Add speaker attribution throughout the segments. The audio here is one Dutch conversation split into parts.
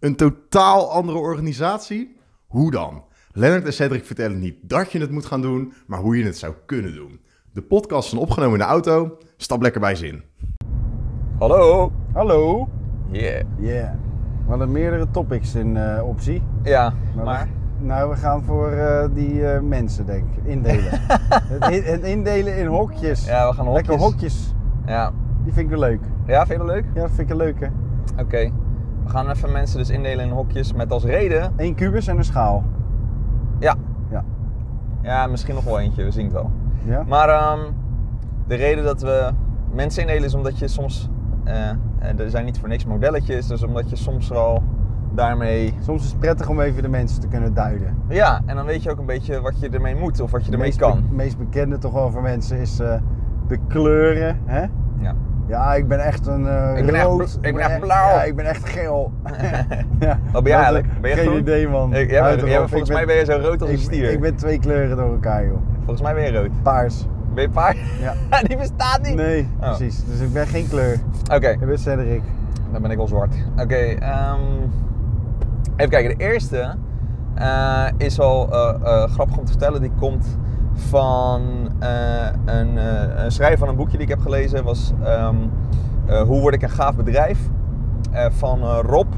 Speaker 1: een totaal andere organisatie? Hoe dan? Lennart en Cedric vertellen niet dat je het moet gaan doen, maar hoe je het zou kunnen doen. De podcast zijn opgenomen in de auto. Stap lekker bij zin.
Speaker 2: Hallo.
Speaker 3: Hallo.
Speaker 2: Yeah.
Speaker 3: Ja. We hadden meerdere topics in eh, optie.
Speaker 2: Ja,
Speaker 3: Nou,
Speaker 2: maar...
Speaker 3: we- nou, we gaan voor eh, die eh, mensen, denk ik. Indelen. het, in- het indelen in hokjes.
Speaker 2: Ja, we gaan hokjes.
Speaker 3: Lekker hokjes.
Speaker 2: Ja.
Speaker 3: Die vind ik wel leuk.
Speaker 2: ja, vind je dat leuk?
Speaker 3: Ja, dat vind ik een leuke.
Speaker 2: Oké. We gaan even mensen dus indelen in hokjes met als reden...
Speaker 3: Eén kubus en een schaal.
Speaker 2: Ja.
Speaker 3: Ja.
Speaker 2: Ja, misschien nog wel eentje. We zien het wel.
Speaker 3: Ja?
Speaker 2: Maar ehm, de reden dat we mensen indelen is omdat je soms... eh, eh, er zijn niet voor niks modelletjes, dus omdat je soms al daarmee...
Speaker 3: Soms is het prettig om even de mensen te kunnen duiden.
Speaker 2: Ja, en dan weet je ook een beetje wat je ermee moet of wat je ermee
Speaker 3: meest
Speaker 2: kan.
Speaker 3: be- meest bekende toch wel voor mensen is eh, de kleuren. Hè?
Speaker 2: Ja.
Speaker 3: Ja, ik ben echt een eh,
Speaker 2: Ik ben echt
Speaker 3: rood.
Speaker 2: bl- ik ben echt blauw.
Speaker 3: Ja, ik ben echt geel. ja,
Speaker 2: Wat ben jij
Speaker 3: dat-
Speaker 2: eigenlijk? Ben je
Speaker 3: Geen
Speaker 2: groen?
Speaker 3: idee man.
Speaker 2: Ik, ja,
Speaker 3: Houd
Speaker 2: maar- ja,
Speaker 3: erop.
Speaker 2: maar
Speaker 3: Ik
Speaker 2: volgens
Speaker 3: ben-
Speaker 2: mij ben je zo rood als een
Speaker 3: ik,
Speaker 2: stier.
Speaker 3: ik ben twee kleuren door elkaar joh.
Speaker 2: Volgens mij ben je rood.
Speaker 3: Paars.
Speaker 2: Ben je paard? Ah,
Speaker 3: Ja.
Speaker 2: Die bestaat niet.
Speaker 3: Nee,
Speaker 2: Oh.
Speaker 3: precies. Dus ik ben geen kleur.
Speaker 2: Oké.
Speaker 3: Ik ben Cedric.
Speaker 2: Dan ben ik wel zwart. Oké, ehm, even kijken. De eerste eh, is al eh, eh, grappig om te vertellen. Die komt van eh, een, eh, een schrijver van een boekje die ik heb gelezen. Was ehm, eh, Hoe word ik een gaaf bedrijf? Eh, van eh, Rob.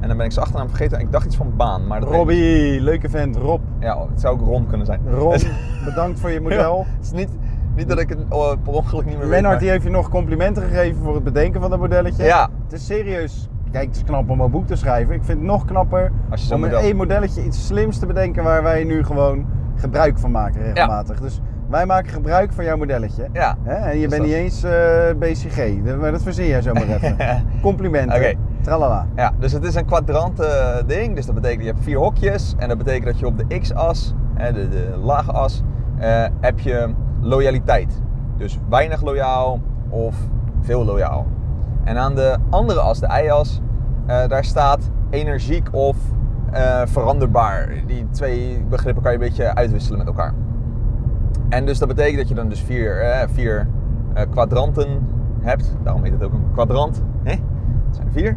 Speaker 2: En dan ben ik zijn achternaam vergeten. Ik dacht iets van Baan. Maar dat weet ik niet.
Speaker 3: Robbie, leuke vent. Rob.
Speaker 2: Ja, het zou ook Ron kunnen zijn.
Speaker 3: Ron, bedankt voor je model.
Speaker 2: Het is niet, niet dat ik het oh, per ongeluk niet meer weet. maar-
Speaker 3: Lennart die heeft je nog complimenten gegeven voor het bedenken van dat modelletje.
Speaker 2: Ja.
Speaker 3: Het is serieus. Kijk, het is knap om een boek te schrijven. Ik vind het nog knapper
Speaker 2: Als je zo'n
Speaker 3: om in
Speaker 2: model-
Speaker 3: één modelletje iets slims te bedenken waar wij nu gewoon gebruik van maken regelmatig. Dus wij maken gebruik van jouw modelletje.
Speaker 2: Ja.
Speaker 3: Hè? En
Speaker 2: Dus
Speaker 3: je bent
Speaker 2: dat-
Speaker 3: niet eens eh, BCG. Dat- Maar dat verzin jij zomaar even. complimenten.
Speaker 2: Oké.
Speaker 3: Tralala.
Speaker 2: Ja, dus het is een kwadranten ding. Dus dat betekent je hebt vier hokjes. En dat betekent dat je op de x-as, hè, de, de lage as, eh, heb je loyaliteit. Dus weinig loyaal of veel loyaal. En aan de andere as, de y-as, eh, daar staat energiek of eh, veranderbaar. Die twee begrippen kan je een beetje uitwisselen met elkaar. En dus dat betekent dat je dan dus vier, eh, vier eh, kwadranten hebt. Daarom heet het ook een kwadrant. Hè? Het zijn er vier.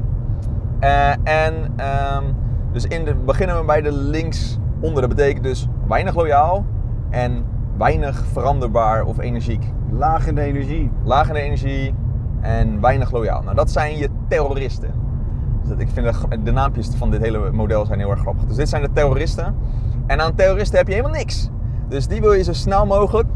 Speaker 2: Eh, en ehm, dus in de, beginnen we bij de linksonder. Dat betekent dus weinig loyaal en weinig veranderbaar of energiek.
Speaker 3: Laag in de energie.
Speaker 2: Laag in de energie en weinig loyaal. Nou, dat zijn je terroristen. Dus dat, ik vind de, de naampjes van dit hele model zijn heel erg grappig. Dus dit zijn de terroristen. En aan terroristen heb je helemaal niks. Dus die wil je zo snel mogelijk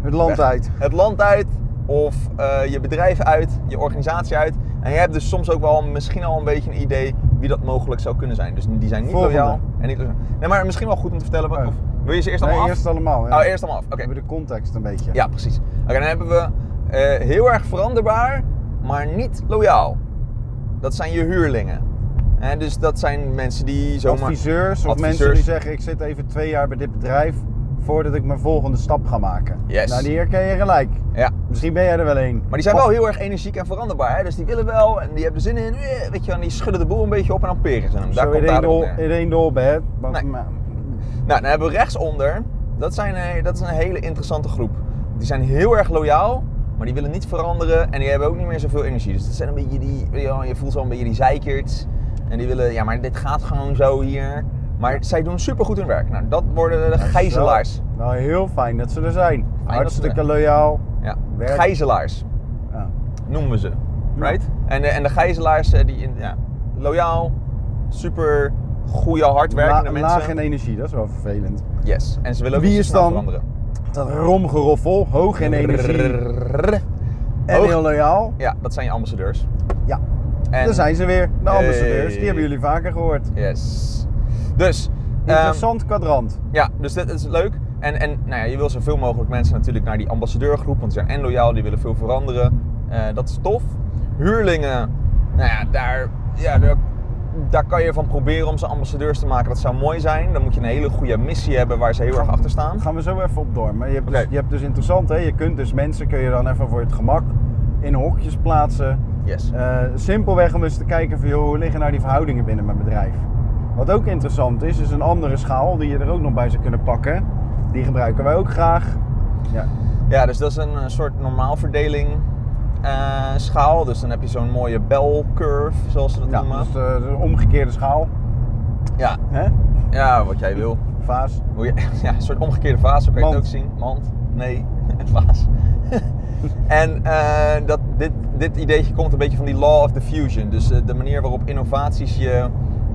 Speaker 3: Het land
Speaker 2: weg.
Speaker 3: uit.
Speaker 2: Het land uit of eh, je bedrijf uit, je organisatie uit. En je hebt dus soms ook wel misschien al een beetje een idee wie dat mogelijk zou kunnen zijn. Dus die zijn niet
Speaker 3: Volgende.
Speaker 2: loyaal en niet loyaal. Nee, maar misschien wel goed om te vertellen. wat-
Speaker 3: Oh.
Speaker 2: of wil je ze eerst
Speaker 3: Nee,
Speaker 2: allemaal af?
Speaker 3: eerst allemaal. Ja.
Speaker 2: Oh, eerst allemaal af. Oké.
Speaker 3: Hebben we de context een beetje.
Speaker 2: Ja, precies. Oké, dan hebben we eh, heel erg veranderbaar, maar niet loyaal. Dat zijn je huurlingen. En dus dat zijn mensen die zomaar...
Speaker 3: Adviseurs of mensen
Speaker 2: Adviseurs.
Speaker 3: die zeggen: Ik zit even twee jaar bij dit bedrijf voordat ik mijn volgende stap ga maken.
Speaker 2: Yes.
Speaker 3: Nou, die herken je gelijk.
Speaker 2: Ja.
Speaker 3: Misschien ben jij er wel een.
Speaker 2: Maar die zijn wel heel erg energiek en veranderbaar. Hè? Dus die willen wel en die hebben er zin in. Eh, Weet je, en die schudden de boel een beetje op en dan peren ze hem. Daar
Speaker 3: Zo
Speaker 2: komt
Speaker 3: in één
Speaker 2: daar
Speaker 3: dol, in één dol bed.
Speaker 2: Nee. Nou, dan hebben we rechtsonder. Dat, zijn, eh, dat is een hele interessante groep. Die zijn heel erg loyaal, maar die willen niet veranderen. En die hebben ook niet meer zoveel energie. Dus dat zijn een beetje die... weet je wel, Je voelt zo een beetje die zeikerts. En die willen... Ja, maar dit gaat gewoon zo hier. Maar zij doen supergoed hun werk. Nou, dat worden de gijzelaars.
Speaker 3: Wel heel fijn dat ze er zijn.
Speaker 2: ze
Speaker 3: Hartstikke
Speaker 2: er-
Speaker 3: loyaal.
Speaker 2: Ja,
Speaker 3: Werk.
Speaker 2: gijzelaars.
Speaker 3: Ja.
Speaker 2: noemen we ze. Right? En, de, en de gijzelaars, eh, die in- ja, loyaal, super goede, hardwerkende
Speaker 3: La-
Speaker 2: mensen.
Speaker 3: Laag in energie, dat is wel vervelend.
Speaker 2: Yes. En ze willen ook
Speaker 3: Wie
Speaker 2: niet
Speaker 3: is
Speaker 2: zo snel
Speaker 3: dan
Speaker 2: veranderen.
Speaker 3: Dat romgeroffel, hoog in energie en
Speaker 2: Hoog.
Speaker 3: heel loyaal.
Speaker 2: Ja, dat zijn je ambassadeurs.
Speaker 3: Ja,
Speaker 2: En,
Speaker 3: daar zijn ze weer. De
Speaker 2: Hey.
Speaker 3: ambassadeurs, die hebben jullie vaker gehoord.
Speaker 2: Yes. Dus, ehm,
Speaker 3: Interessant kwadrant.
Speaker 2: ja, dus dit is leuk. En, en nou ja, je wil zoveel mogelijk mensen natuurlijk naar die ambassadeurgroep, want die zijn en loyaal, die willen veel veranderen. Eh, dat is tof. Huurlingen, nou ja, daar, ja daar, daar kan je van proberen om ze ambassadeurs te maken. Dat zou mooi zijn. Dan moet je een hele goede missie hebben waar ze heel erg achter staan.
Speaker 3: Gaan we zo even op door. Maar je hebt,
Speaker 2: Oké.
Speaker 3: dus, je hebt dus interessant, hè? Je kunt dus mensen kun je dan even voor het gemak in hokjes plaatsen.
Speaker 2: Yes.
Speaker 3: Eh, simpelweg om eens te kijken van, joh, hoe liggen nou die verhoudingen binnen mijn bedrijf? Wat ook interessant is, is een andere schaal die je er ook nog bij zou kunnen pakken. Die gebruiken wij ook graag. Ja,
Speaker 2: Ja, dus dat is een, eh, soort normaalverdeling. eh, schaal. Dus dan heb je zo'n mooie bell curve, zoals ze dat
Speaker 3: Ja,
Speaker 2: noemen.
Speaker 3: dus eh, de, de omgekeerde schaal.
Speaker 2: Ja,
Speaker 3: Hè?
Speaker 2: ja, wat jij wil.
Speaker 3: Vaas.
Speaker 2: Hoe je, ja, een soort omgekeerde vaas, zo kan je
Speaker 3: Mand.
Speaker 2: het ook zien. Mand, nee, vaas. en eh, dat, dit, dit ideetje komt een beetje van die law of diffusion. Dus eh, de manier waarop innovaties je,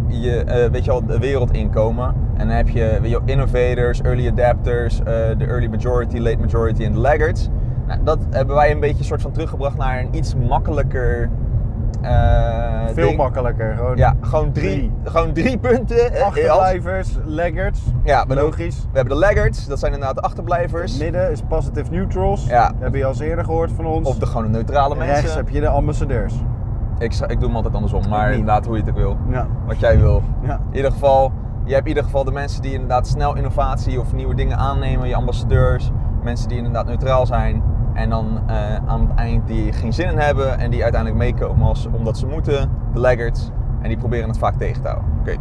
Speaker 2: je eh, weet je wel, de wereld inkomen. En dan heb je, weet je wel, innovators, early adapters, eh, de early majority, late majority en de laggards. Nou, dat hebben wij een beetje soort van teruggebracht naar een iets makkelijker... eh,
Speaker 3: Veel
Speaker 2: ding.
Speaker 3: makkelijker. Gewoon
Speaker 2: Ja, gewoon drie, Gewoon drie punten. eh, als-
Speaker 3: Achterblijvers, laggards.
Speaker 2: ja, we
Speaker 3: logisch.
Speaker 2: We hebben de laggards, dat zijn inderdaad de achterblijvers.
Speaker 3: Midden is positive neutrals.
Speaker 2: Ja.
Speaker 3: Dat heb je al eens eerder gehoord van ons.
Speaker 2: Of de gewoon de neutrale mensen.
Speaker 3: Rechts heb je de ambassadeurs.
Speaker 2: ik, zou- ik doe hem altijd andersom, maar
Speaker 3: niet.
Speaker 2: inderdaad hoe je het ook wil.
Speaker 3: Ja.
Speaker 2: Wat jij wil.
Speaker 3: Ja.
Speaker 2: In ieder geval, je hebt in ieder geval de mensen die inderdaad snel innovatie of nieuwe dingen aannemen, je ambassadeurs. Mensen die inderdaad neutraal zijn. En dan eh, aan het eind die geen zin in hebben en die uiteindelijk meekomen als, omdat ze moeten. De laggards. En die proberen het vaak tegen te houden. Oké.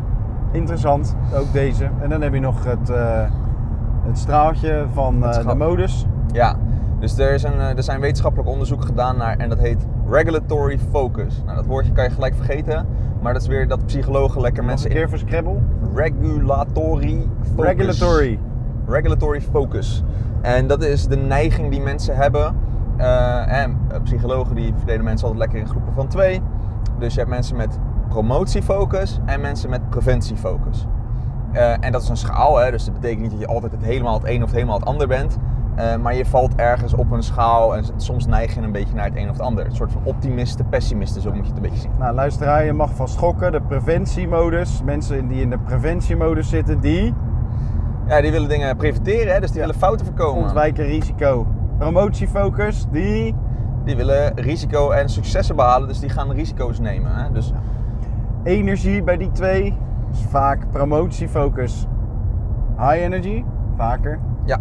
Speaker 3: Interessant, ook deze. En dan heb je nog het, eh, het straaltje van eh, de
Speaker 2: schaal.
Speaker 3: modus.
Speaker 2: Ja, dus er, is een, eh, er zijn wetenschappelijk onderzoek gedaan naar, en dat heet regulatory focus. Nou, dat woordje kan je gelijk vergeten, maar dat is weer dat psychologen lekker
Speaker 3: Nog
Speaker 2: mensen
Speaker 3: een keer voor Scrabble.
Speaker 2: in regulatory focus.
Speaker 3: Regulatory.
Speaker 2: Regulatory focus. En dat is de neiging die mensen hebben. Eh, en eh, psychologen die verdelen mensen altijd lekker in groepen van twee. Dus je hebt mensen met promotiefocus en mensen met preventiefocus. Eh, en dat is een schaal, hè? dus dat betekent niet dat je altijd het helemaal het een of het helemaal het ander bent. Eh, maar je valt ergens op een schaal en s- soms neig je een beetje naar het een of het ander. Een soort van optimisten, pessimisten, zo moet je het een beetje zien.
Speaker 3: Nou, luisteraar, je mag van schokken. De preventiemodus. Mensen die in de preventiemodus zitten, die
Speaker 2: Ja, die willen dingen preventeren, hè? dus die
Speaker 3: Ja.
Speaker 2: willen fouten voorkomen.
Speaker 3: ontwijken risico. Promotiefocus, die...
Speaker 2: Die willen risico en successen behalen, dus die gaan risico's nemen. Hè? Dus
Speaker 3: energie bij die twee. is vaak promotiefocus. High energy, vaker.
Speaker 2: ja.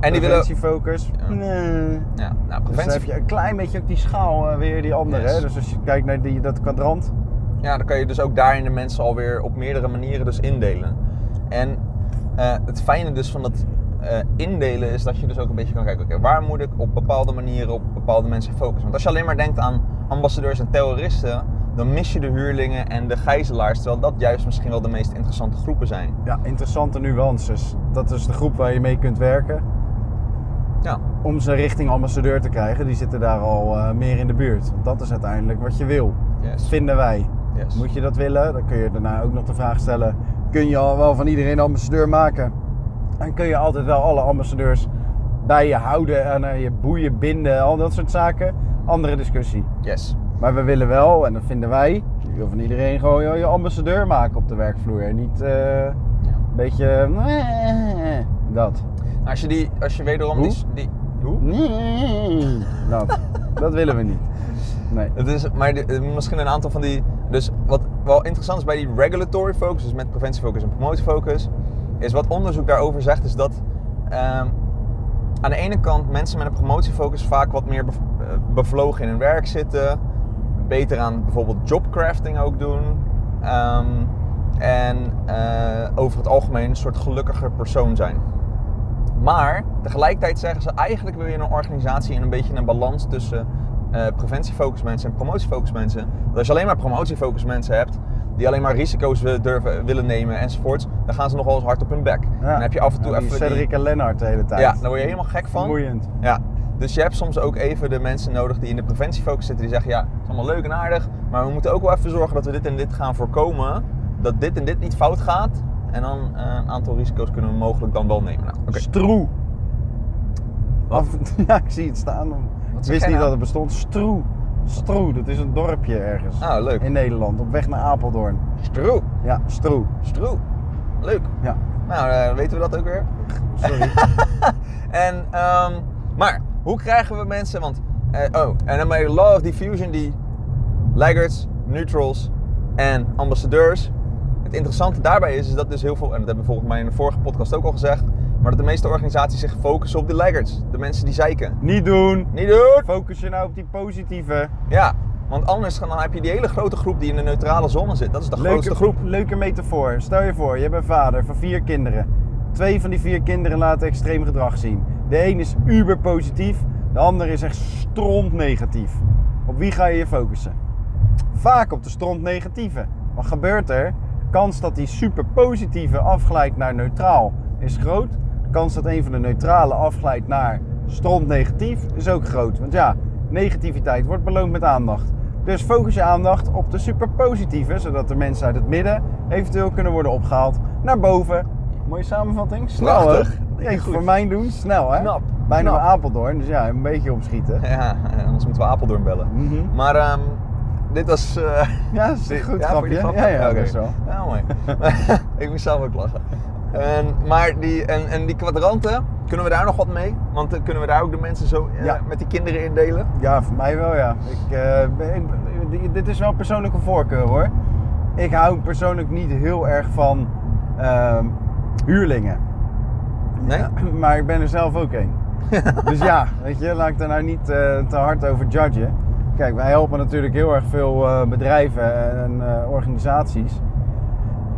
Speaker 2: En die willen.
Speaker 3: Preventiefocus.
Speaker 2: Ja.
Speaker 3: Nee.
Speaker 2: Ja, nou,
Speaker 3: Dus dan
Speaker 2: preventie.
Speaker 3: heb je een klein beetje ook die schaal eh, weer, die andere.
Speaker 2: Yes.
Speaker 3: Hè? Dus als je kijkt naar die, dat kwadrant.
Speaker 2: Ja, dan kan je dus ook daarin de mensen alweer op meerdere manieren dus indelen. En eh, het fijne dus van dat eh, indelen is dat je dus ook een beetje kan kijken, oké, waar moet ik op bepaalde manieren op bepaalde mensen focussen? Want als je alleen maar denkt aan ambassadeurs en terroristen, dan mis je de huurlingen en de gijzelaars, terwijl dat juist misschien wel de meest interessante groepen zijn.
Speaker 3: Ja, interessante nuances. Dat is de groep waar je mee kunt werken.
Speaker 2: Ja,
Speaker 3: Om ze richting ambassadeur te krijgen. Die zitten daar al eh, meer in de buurt. Want dat is uiteindelijk wat je wil.
Speaker 2: yes.
Speaker 3: Vinden wij.
Speaker 2: yes.
Speaker 3: Moet je dat willen? Dan kun je daarna ook nog de vraag stellen: kun je al wel van iedereen ambassadeur maken? En kun je altijd wel alle ambassadeurs bij je houden en aan je boeien binden, al dat soort zaken? Andere discussie.
Speaker 2: yes.
Speaker 3: Maar we willen wel, en dat vinden wij, je wil van iedereen gewoon je je ambassadeur maken op de werkvloer. En niet eh,
Speaker 2: Ja.
Speaker 3: een beetje. nee, Dat.
Speaker 2: Nou, Als je, die, als je wederom
Speaker 3: Hoe?
Speaker 2: die... die hoe?
Speaker 3: Nee, Dat. Dat willen we niet. Nee.
Speaker 2: Het is, maar de- eh, misschien een aantal van die. Dus wat wel interessant is bij die regulatory focus, dus met preventiefocus en promotiefocus, is wat onderzoek daarover zegt, is dat ehm, aan de ene kant mensen met een promotiefocus vaak wat meer bev- eh, bevlogen in hun werk zitten, beter aan bijvoorbeeld jobcrafting ook doen. ehm, en eh, over het algemeen een soort gelukkiger persoon zijn. Maar tegelijkertijd zeggen ze eigenlijk wil je in een organisatie in een beetje een balans tussen eh preventiefocus mensen en promotiefocus mensen. Want als je alleen maar promotiefocus mensen hebt die alleen maar risico's wil- durven, willen nemen enzovoorts, dan gaan ze nogal eens hard op hun bek.
Speaker 3: Ja.
Speaker 2: Dan heb je af en toe
Speaker 3: Ja, die
Speaker 2: even
Speaker 3: Cedric
Speaker 2: die-
Speaker 3: en Lennart de hele tijd.
Speaker 2: ja, daar word je helemaal gek van.
Speaker 3: Vermoeiend.
Speaker 2: Ja. Dus je hebt soms ook even de mensen nodig die in de preventiefocus zitten. Die zeggen, ja, het is allemaal leuk en aardig. Maar we moeten ook wel even zorgen dat we dit en dit gaan voorkomen. Dat dit en dit niet fout gaat. En dan eh, een aantal risico's kunnen we mogelijk dan wel nemen. Nou, oké.
Speaker 3: Stroe.
Speaker 2: Wat?
Speaker 3: Af- ja, ik zie het staan. Ik
Speaker 2: zeg
Speaker 3: wist
Speaker 2: jij
Speaker 3: niet
Speaker 2: nou?
Speaker 3: dat het bestond. Stroe. Stroe, dat is een dorpje ergens.
Speaker 2: Ah, leuk.
Speaker 3: In Nederland, op weg naar Apeldoorn.
Speaker 2: Stroe.
Speaker 3: Ja, Stroe.
Speaker 2: Stroe. Leuk.
Speaker 3: Ja,
Speaker 2: Nou, eh, weten we dat ook weer.
Speaker 3: sorry.
Speaker 2: En, ehm, maar, hoe krijgen we mensen, want, eh, oh, en dan bij de Law of Diffusion die laggards, neutrals en ambassadeurs. Het interessante daarbij is, is dat dus heel veel, en dat hebben we volgens mij in de vorige podcast ook al gezegd, maar dat de meeste organisaties zich focussen op de laggards, de mensen die zeiken.
Speaker 3: niet doen.
Speaker 2: Niet doen!
Speaker 3: Focus je nou op die positieve.
Speaker 2: Ja, want anders dan heb je die hele grote groep die in de neutrale zone zit. Dat is de grootste groep.
Speaker 3: leuke metafoor. Stel je voor, je hebt een vader van vier kinderen. Twee van die vier kinderen laten extreem gedrag zien. De een is uber positief, De ander is echt stront negatief. Op wie ga je je focussen? Vaak op de stront negatieve. Wat gebeurt er? Kans dat die super positieve afglijdt naar neutraal is groot. De kans dat een van de neutrale afglijdt naar stront negatief is ook groot. Want ja, negativiteit wordt beloond met aandacht. Dus focus je aandacht op de super positieve, zodat de mensen uit het midden eventueel kunnen worden opgehaald naar boven. Mooie samenvatting. Snel, hè?
Speaker 2: Prachtig.
Speaker 3: Jeetje,
Speaker 2: Goed.
Speaker 3: voor mijn doen, snel hè?
Speaker 2: Knap,
Speaker 3: Bijna
Speaker 2: knap.
Speaker 3: bij Apeldoorn, dus ja, een beetje opschieten.
Speaker 2: Ja, eh, anders moeten we Apeldoorn bellen.
Speaker 3: Mhm.
Speaker 2: Maar ehm, dit was... eh,
Speaker 3: Ja, dat is een
Speaker 2: dit-
Speaker 3: goed
Speaker 2: ja, vond
Speaker 3: grapje.
Speaker 2: je het
Speaker 3: Ja, ja,
Speaker 2: Oké.
Speaker 3: best wel.
Speaker 2: Ja, mooi. ik moest zelf ook lachen. En, maar die, en, en die kwadranten, kunnen we daar nog wat mee? Want eh, kunnen we daar ook de mensen zo eh,
Speaker 3: Ja.
Speaker 2: met die kinderen indelen?
Speaker 3: Ja, voor mij wel ja. Ik, eh, ben- ik- dit is wel persoonlijke voorkeur hoor. Ik hou persoonlijk niet heel erg van ehm, huurlingen.
Speaker 2: Nee?
Speaker 3: Maar ik ben er zelf ook een. dus ja, weet je, laat ik daar nou niet eh, te hard over judgen. Kijk, wij helpen natuurlijk heel erg veel eh, bedrijven en eh, organisaties.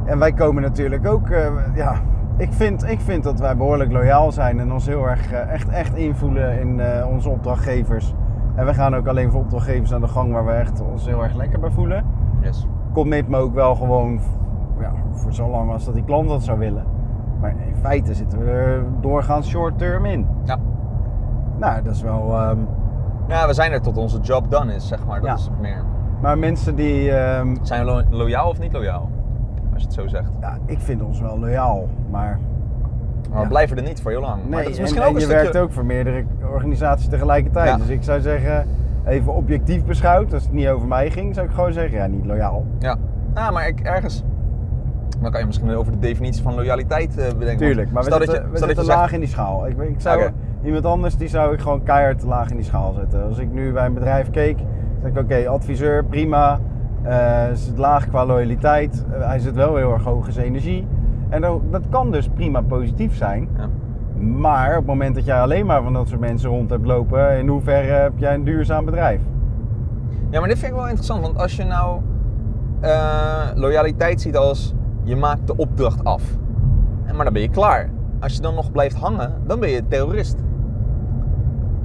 Speaker 3: En wij komen natuurlijk ook, eh, ja, ik vind, ik vind dat wij behoorlijk loyaal zijn en ons heel erg eh, echt, echt invoelen in eh, onze opdrachtgevers. En we gaan ook alleen voor opdrachtgevers aan de gang waar we echt ons heel erg lekker bij voelen.
Speaker 2: Yes.
Speaker 3: Commit me ook wel gewoon ja, voor zo lang als dat die klant dat zou willen. Maar in feite zitten we er doorgaans short term in.
Speaker 2: Ja.
Speaker 3: Nou, dat is wel. ehm,
Speaker 2: ja, we zijn er tot onze job done is, zeg maar. Dat
Speaker 3: Ja.
Speaker 2: is het meer.
Speaker 3: maar mensen die. ehm,
Speaker 2: Zijn we lo- loyaal of niet loyaal? Als je het zo zegt.
Speaker 3: ja, ik vind ons wel loyaal, maar.
Speaker 2: Maar
Speaker 3: Ja.
Speaker 2: we blijven er niet voor heel lang.
Speaker 3: Nee,
Speaker 2: maar dat is
Speaker 3: en-
Speaker 2: misschien
Speaker 3: en
Speaker 2: ook een
Speaker 3: je
Speaker 2: stukje...
Speaker 3: werkt ook voor meerdere organisaties tegelijkertijd.
Speaker 2: Ja.
Speaker 3: Dus ik zou zeggen, even objectief beschouwd, als het niet over mij ging, zou ik gewoon zeggen, ja, niet loyaal.
Speaker 2: Ja, ah, maar ik, ergens. Dan kan je misschien over de definitie van loyaliteit eh, bedenken.
Speaker 3: Tuurlijk, maar we
Speaker 2: stel dat
Speaker 3: zitten,
Speaker 2: je,
Speaker 3: we
Speaker 2: stel dat
Speaker 3: zitten
Speaker 2: je zegt-
Speaker 3: laag in die schaal. Ik, ik zou
Speaker 2: Oké.
Speaker 3: iemand anders, die zou ik gewoon keihard laag in die schaal zetten. Als ik nu bij een bedrijf keek, zeg ik, oké, adviseur, prima. Eh is het laag qua loyaliteit. Eh, hij zit wel heel erg hoog in zijn energie. En dat, dat kan dus prima positief zijn.
Speaker 2: Ja.
Speaker 3: Maar op het moment dat jij alleen maar van dat soort mensen rond hebt lopen, in hoeverre heb jij een duurzaam bedrijf?
Speaker 2: Ja, maar dit vind ik wel interessant, want als je nou eh, loyaliteit ziet als je maakt de opdracht af, En maar dan ben je klaar. Als je dan nog blijft hangen, dan ben je terrorist.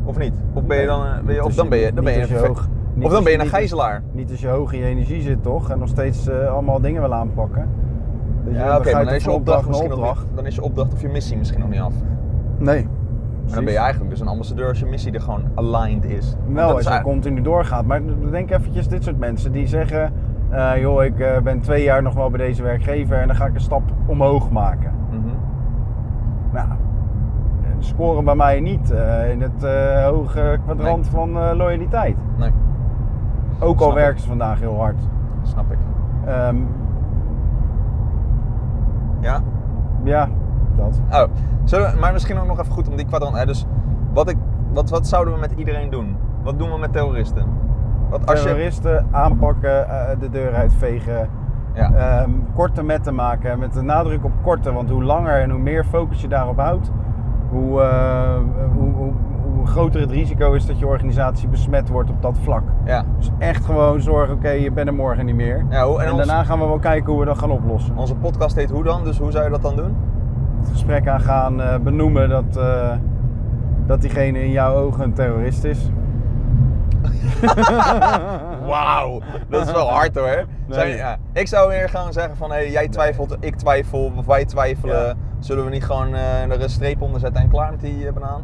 Speaker 2: Of niet? Of ben je dan, eh, ben je, of dan ben je, dan ben je,
Speaker 3: Dus Niet als
Speaker 2: een
Speaker 3: je hoog- niet
Speaker 2: of dan
Speaker 3: als
Speaker 2: ben je een
Speaker 3: niet dus als-
Speaker 2: gijzelaar.
Speaker 3: Niet als je hoog in je energie zit, toch? En nog steeds eh, allemaal dingen wil aanpakken. Dus
Speaker 2: Ja,
Speaker 3: dan
Speaker 2: oké, maar
Speaker 3: ga je
Speaker 2: dan
Speaker 3: toch
Speaker 2: is je
Speaker 3: van
Speaker 2: opdracht
Speaker 3: naar
Speaker 2: misschien nog niet- dan is je opdracht of je missie misschien nog niet af.
Speaker 3: Nee.
Speaker 2: Maar dan ben je eigenlijk dus een ambassadeur als je missie er gewoon aligned is. Want
Speaker 3: Wel,
Speaker 2: dat
Speaker 3: als
Speaker 2: is
Speaker 3: je
Speaker 2: eigenlijk-
Speaker 3: continu doorgaat. Maar denk eventjes dit soort mensen die zeggen... eh, joh, ik eh, ben twee jaar nog wel bij deze werkgever en dan ga ik een stap omhoog maken.
Speaker 2: Mhm.
Speaker 3: Nou, eh, scoren bij mij niet eh, in het eh, hoge kwadrant van eh, loyaliteit.
Speaker 2: Nee,
Speaker 3: Ook
Speaker 2: Snap
Speaker 3: al
Speaker 2: ik.
Speaker 3: werken ze vandaag heel hard.
Speaker 2: snap ik.
Speaker 3: Ehm,
Speaker 2: Ja?
Speaker 3: ja, dat.
Speaker 2: Oh, zullen we- maar misschien ook nog even goed om die kwadrant. Hè? Dus wat, ik, wat, wat zouden we met iedereen doen? Wat doen we met terroristen? Wat als je.
Speaker 3: Terroristen aanpakken, eh, de deur uitvegen.
Speaker 2: Ja.
Speaker 3: Ehm, korte metten maken. Met de nadruk op korte. Want hoe langer en hoe meer focus je daarop houdt, hoe, eh, hoe, hoe, hoe groter het risico is dat je organisatie besmet wordt op dat vlak.
Speaker 2: Ja.
Speaker 3: Dus echt gewoon zorgen, oké, je bent er morgen niet meer.
Speaker 2: ja hoe, en
Speaker 3: en
Speaker 2: ons-
Speaker 3: daarna gaan we wel kijken hoe we dat gaan oplossen.
Speaker 2: Onze podcast heet Hoe dan? Dus hoe zou je dat dan doen?
Speaker 3: Het gesprek aangaan, eh, benoemen dat, eh, dat diegene in jouw ogen een terrorist is.
Speaker 2: Wauw, dat is wel hard hoor. Zou je-
Speaker 3: Nee.
Speaker 2: ja. Ik zou weer gaan zeggen: van hé, hey, jij twijfelt, ik twijfel, of wij twijfelen.
Speaker 3: Ja.
Speaker 2: Zullen we niet gewoon eh, er een streep onder zetten en klaar met die eh, banaan?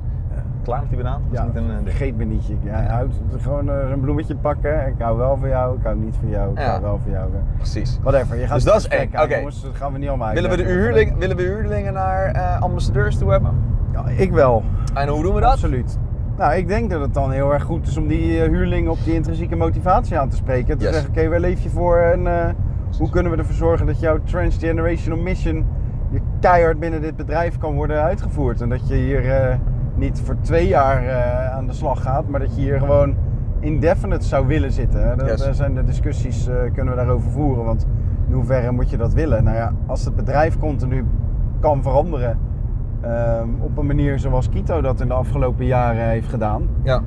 Speaker 2: Klaar met die banaan? Dat is
Speaker 3: Ja,
Speaker 2: niet een eh, ding.
Speaker 3: vergeet me niet. Je, ja, houd gewoon eh, een bloemetje pakken. Ik hou wel van jou, ik hou niet van jou, ik
Speaker 2: Ja.
Speaker 3: hou wel van jou.
Speaker 2: Precies.
Speaker 3: Whatever, je gaat
Speaker 2: Dus
Speaker 3: het
Speaker 2: dat is
Speaker 3: gesprek
Speaker 2: één,
Speaker 3: aan,
Speaker 2: oké.
Speaker 3: jongens, dat gaan we niet allemaal
Speaker 2: Willen we, de
Speaker 3: uitleggen.
Speaker 2: huurling, willen we huurlingen naar eh, ambassadeurs toe hebben?
Speaker 3: Ja, ik wel,
Speaker 2: En hoe doen we dat?
Speaker 3: absoluut. Nou, ik denk dat het dan heel erg goed is om die eh, huurling op die intrinsieke motivatie aan te spreken. Te
Speaker 2: Yes.
Speaker 3: zeggen, oké, waar leef je voor en eh, hoe kunnen we ervoor zorgen dat jouw transgenerational mission je keihard binnen dit bedrijf kan worden uitgevoerd. En dat je hier eh, niet voor twee jaar eh, aan de slag gaat, maar dat je hier gewoon indefinite zou willen zitten. Hè? Dat,
Speaker 2: Yes.
Speaker 3: daar zijn de discussies, eh, kunnen we daarover voeren, want in hoeverre moet je dat willen? Nou ja, als het bedrijf continu kan veranderen ehm, op een manier zoals Kito dat in de afgelopen jaren heeft gedaan,
Speaker 2: Ja.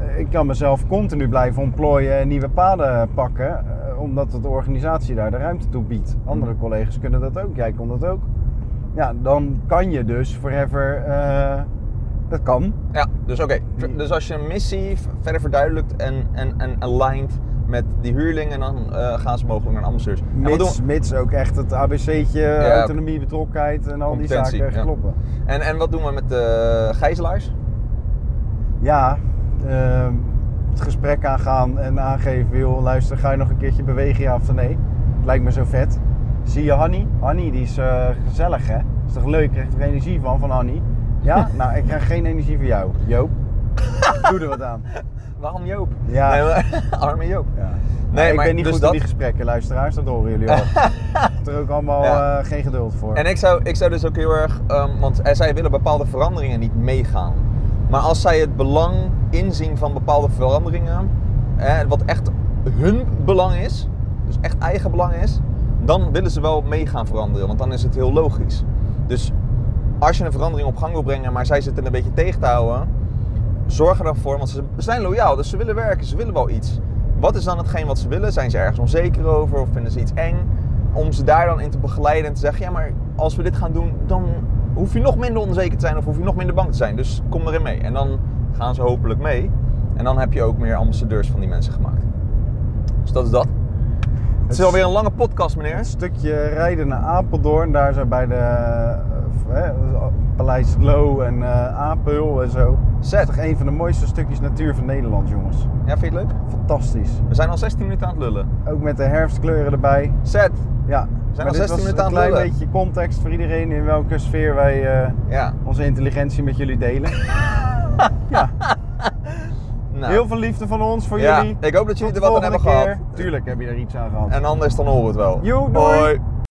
Speaker 3: eh, ik kan mezelf continu blijven ontplooien en nieuwe paden pakken, eh, omdat de organisatie daar de ruimte toe biedt.
Speaker 2: Mm.
Speaker 3: Andere collega's kunnen dat ook, jij kon dat ook. Ja, dan kan je dus forever eh, Dat kan.
Speaker 2: Ja, dus oké. Tr- Dus als je een missie v- verder verduidelijkt en, en, en aligned met die huurlingen, dan eh, gaan ze mogelijk naar ambassadeurs. En wat doen
Speaker 3: Mits,
Speaker 2: we-
Speaker 3: mits ook echt het ABC'tje,
Speaker 2: Ja.
Speaker 3: autonomie, betrokkenheid en al die
Speaker 2: Competentie,
Speaker 3: zaken
Speaker 2: ja.
Speaker 3: kloppen.
Speaker 2: En, en wat doen we met de gijzelaars?
Speaker 3: Ja, ehm, het gesprek aangaan en aangeven, joh, luister, ga je nog een keertje bewegen, ja of nee? Het lijkt me zo vet. Zie je Hanny? Hanny, die is eh, gezellig, hè? Is toch leuk? Krijg je er energie van, van Hanny? Ja? nou, ik krijg geen energie van jou, Joop. Doe er wat aan.
Speaker 2: Waarom Joop?
Speaker 3: Ja.
Speaker 2: Nee, maar- arme Joop.
Speaker 3: Ja. Nou,
Speaker 2: Nee,
Speaker 3: ik
Speaker 2: maar
Speaker 3: ben niet
Speaker 2: dus
Speaker 3: goed
Speaker 2: dat-
Speaker 3: in die gesprekken, luisteraars, dat horen jullie al. Ik heb er ook allemaal
Speaker 2: Ja.
Speaker 3: eh, geen geduld voor.
Speaker 2: En ik zou, ik zou dus ook heel erg, ehm, want eh, zij willen bepaalde veranderingen niet meegaan. Maar als zij het belang inzien van bepaalde veranderingen, eh, wat echt hun belang is, dus echt eigen belang is, dan willen ze wel mee gaan veranderen, want dan is het heel logisch. Dus als je een verandering op gang wil brengen, maar zij zitten een beetje tegen te houden, zorg er dan voor, want ze zijn loyaal, dus ze willen werken, ze willen wel iets. Wat is dan hetgeen wat ze willen? Zijn ze ergens onzeker over of vinden ze iets eng? Om ze daar dan in te begeleiden en te zeggen, ja maar als we dit gaan doen, dan hoef je nog minder onzeker te zijn of hoef je nog minder bang te zijn. Dus kom erin mee. En dan gaan ze hopelijk mee. En dan heb je ook meer ambassadeurs van die mensen gemaakt. Dus dat is dat. Het is
Speaker 3: Het-
Speaker 2: alweer een lange podcast, meneer.
Speaker 3: Een stukje rijden naar Apeldoorn, daar zijn bij de eh, eh, Paleis Lo en eh Apel en zo.
Speaker 2: Zet.
Speaker 3: Dat is toch een van de mooiste stukjes natuur van Nederland, jongens.
Speaker 2: Ja, vind je het leuk?
Speaker 3: Fantastisch.
Speaker 2: We zijn al 16 minuten aan het lullen.
Speaker 3: Ook met de herfstkleuren erbij.
Speaker 2: Zet.
Speaker 3: Ja,
Speaker 2: al
Speaker 3: maar dit
Speaker 2: 16
Speaker 3: was
Speaker 2: minuten aan
Speaker 3: een
Speaker 2: het
Speaker 3: klein
Speaker 2: lullen.
Speaker 3: beetje context voor iedereen in welke sfeer wij eh,
Speaker 2: Ja.
Speaker 3: onze intelligentie met jullie delen. ja,
Speaker 2: Nou.
Speaker 3: heel veel liefde van ons voor
Speaker 2: Ja,
Speaker 3: jullie.
Speaker 2: ik hop dat jullie
Speaker 3: Tot
Speaker 2: er wat
Speaker 3: de
Speaker 2: aan hebben
Speaker 3: volgende
Speaker 2: gehad.
Speaker 3: keer. Tuurlijk heb je er iets aan gehad.
Speaker 2: En anders dan horen we het wel.
Speaker 3: Joe, doei.
Speaker 2: Hoi.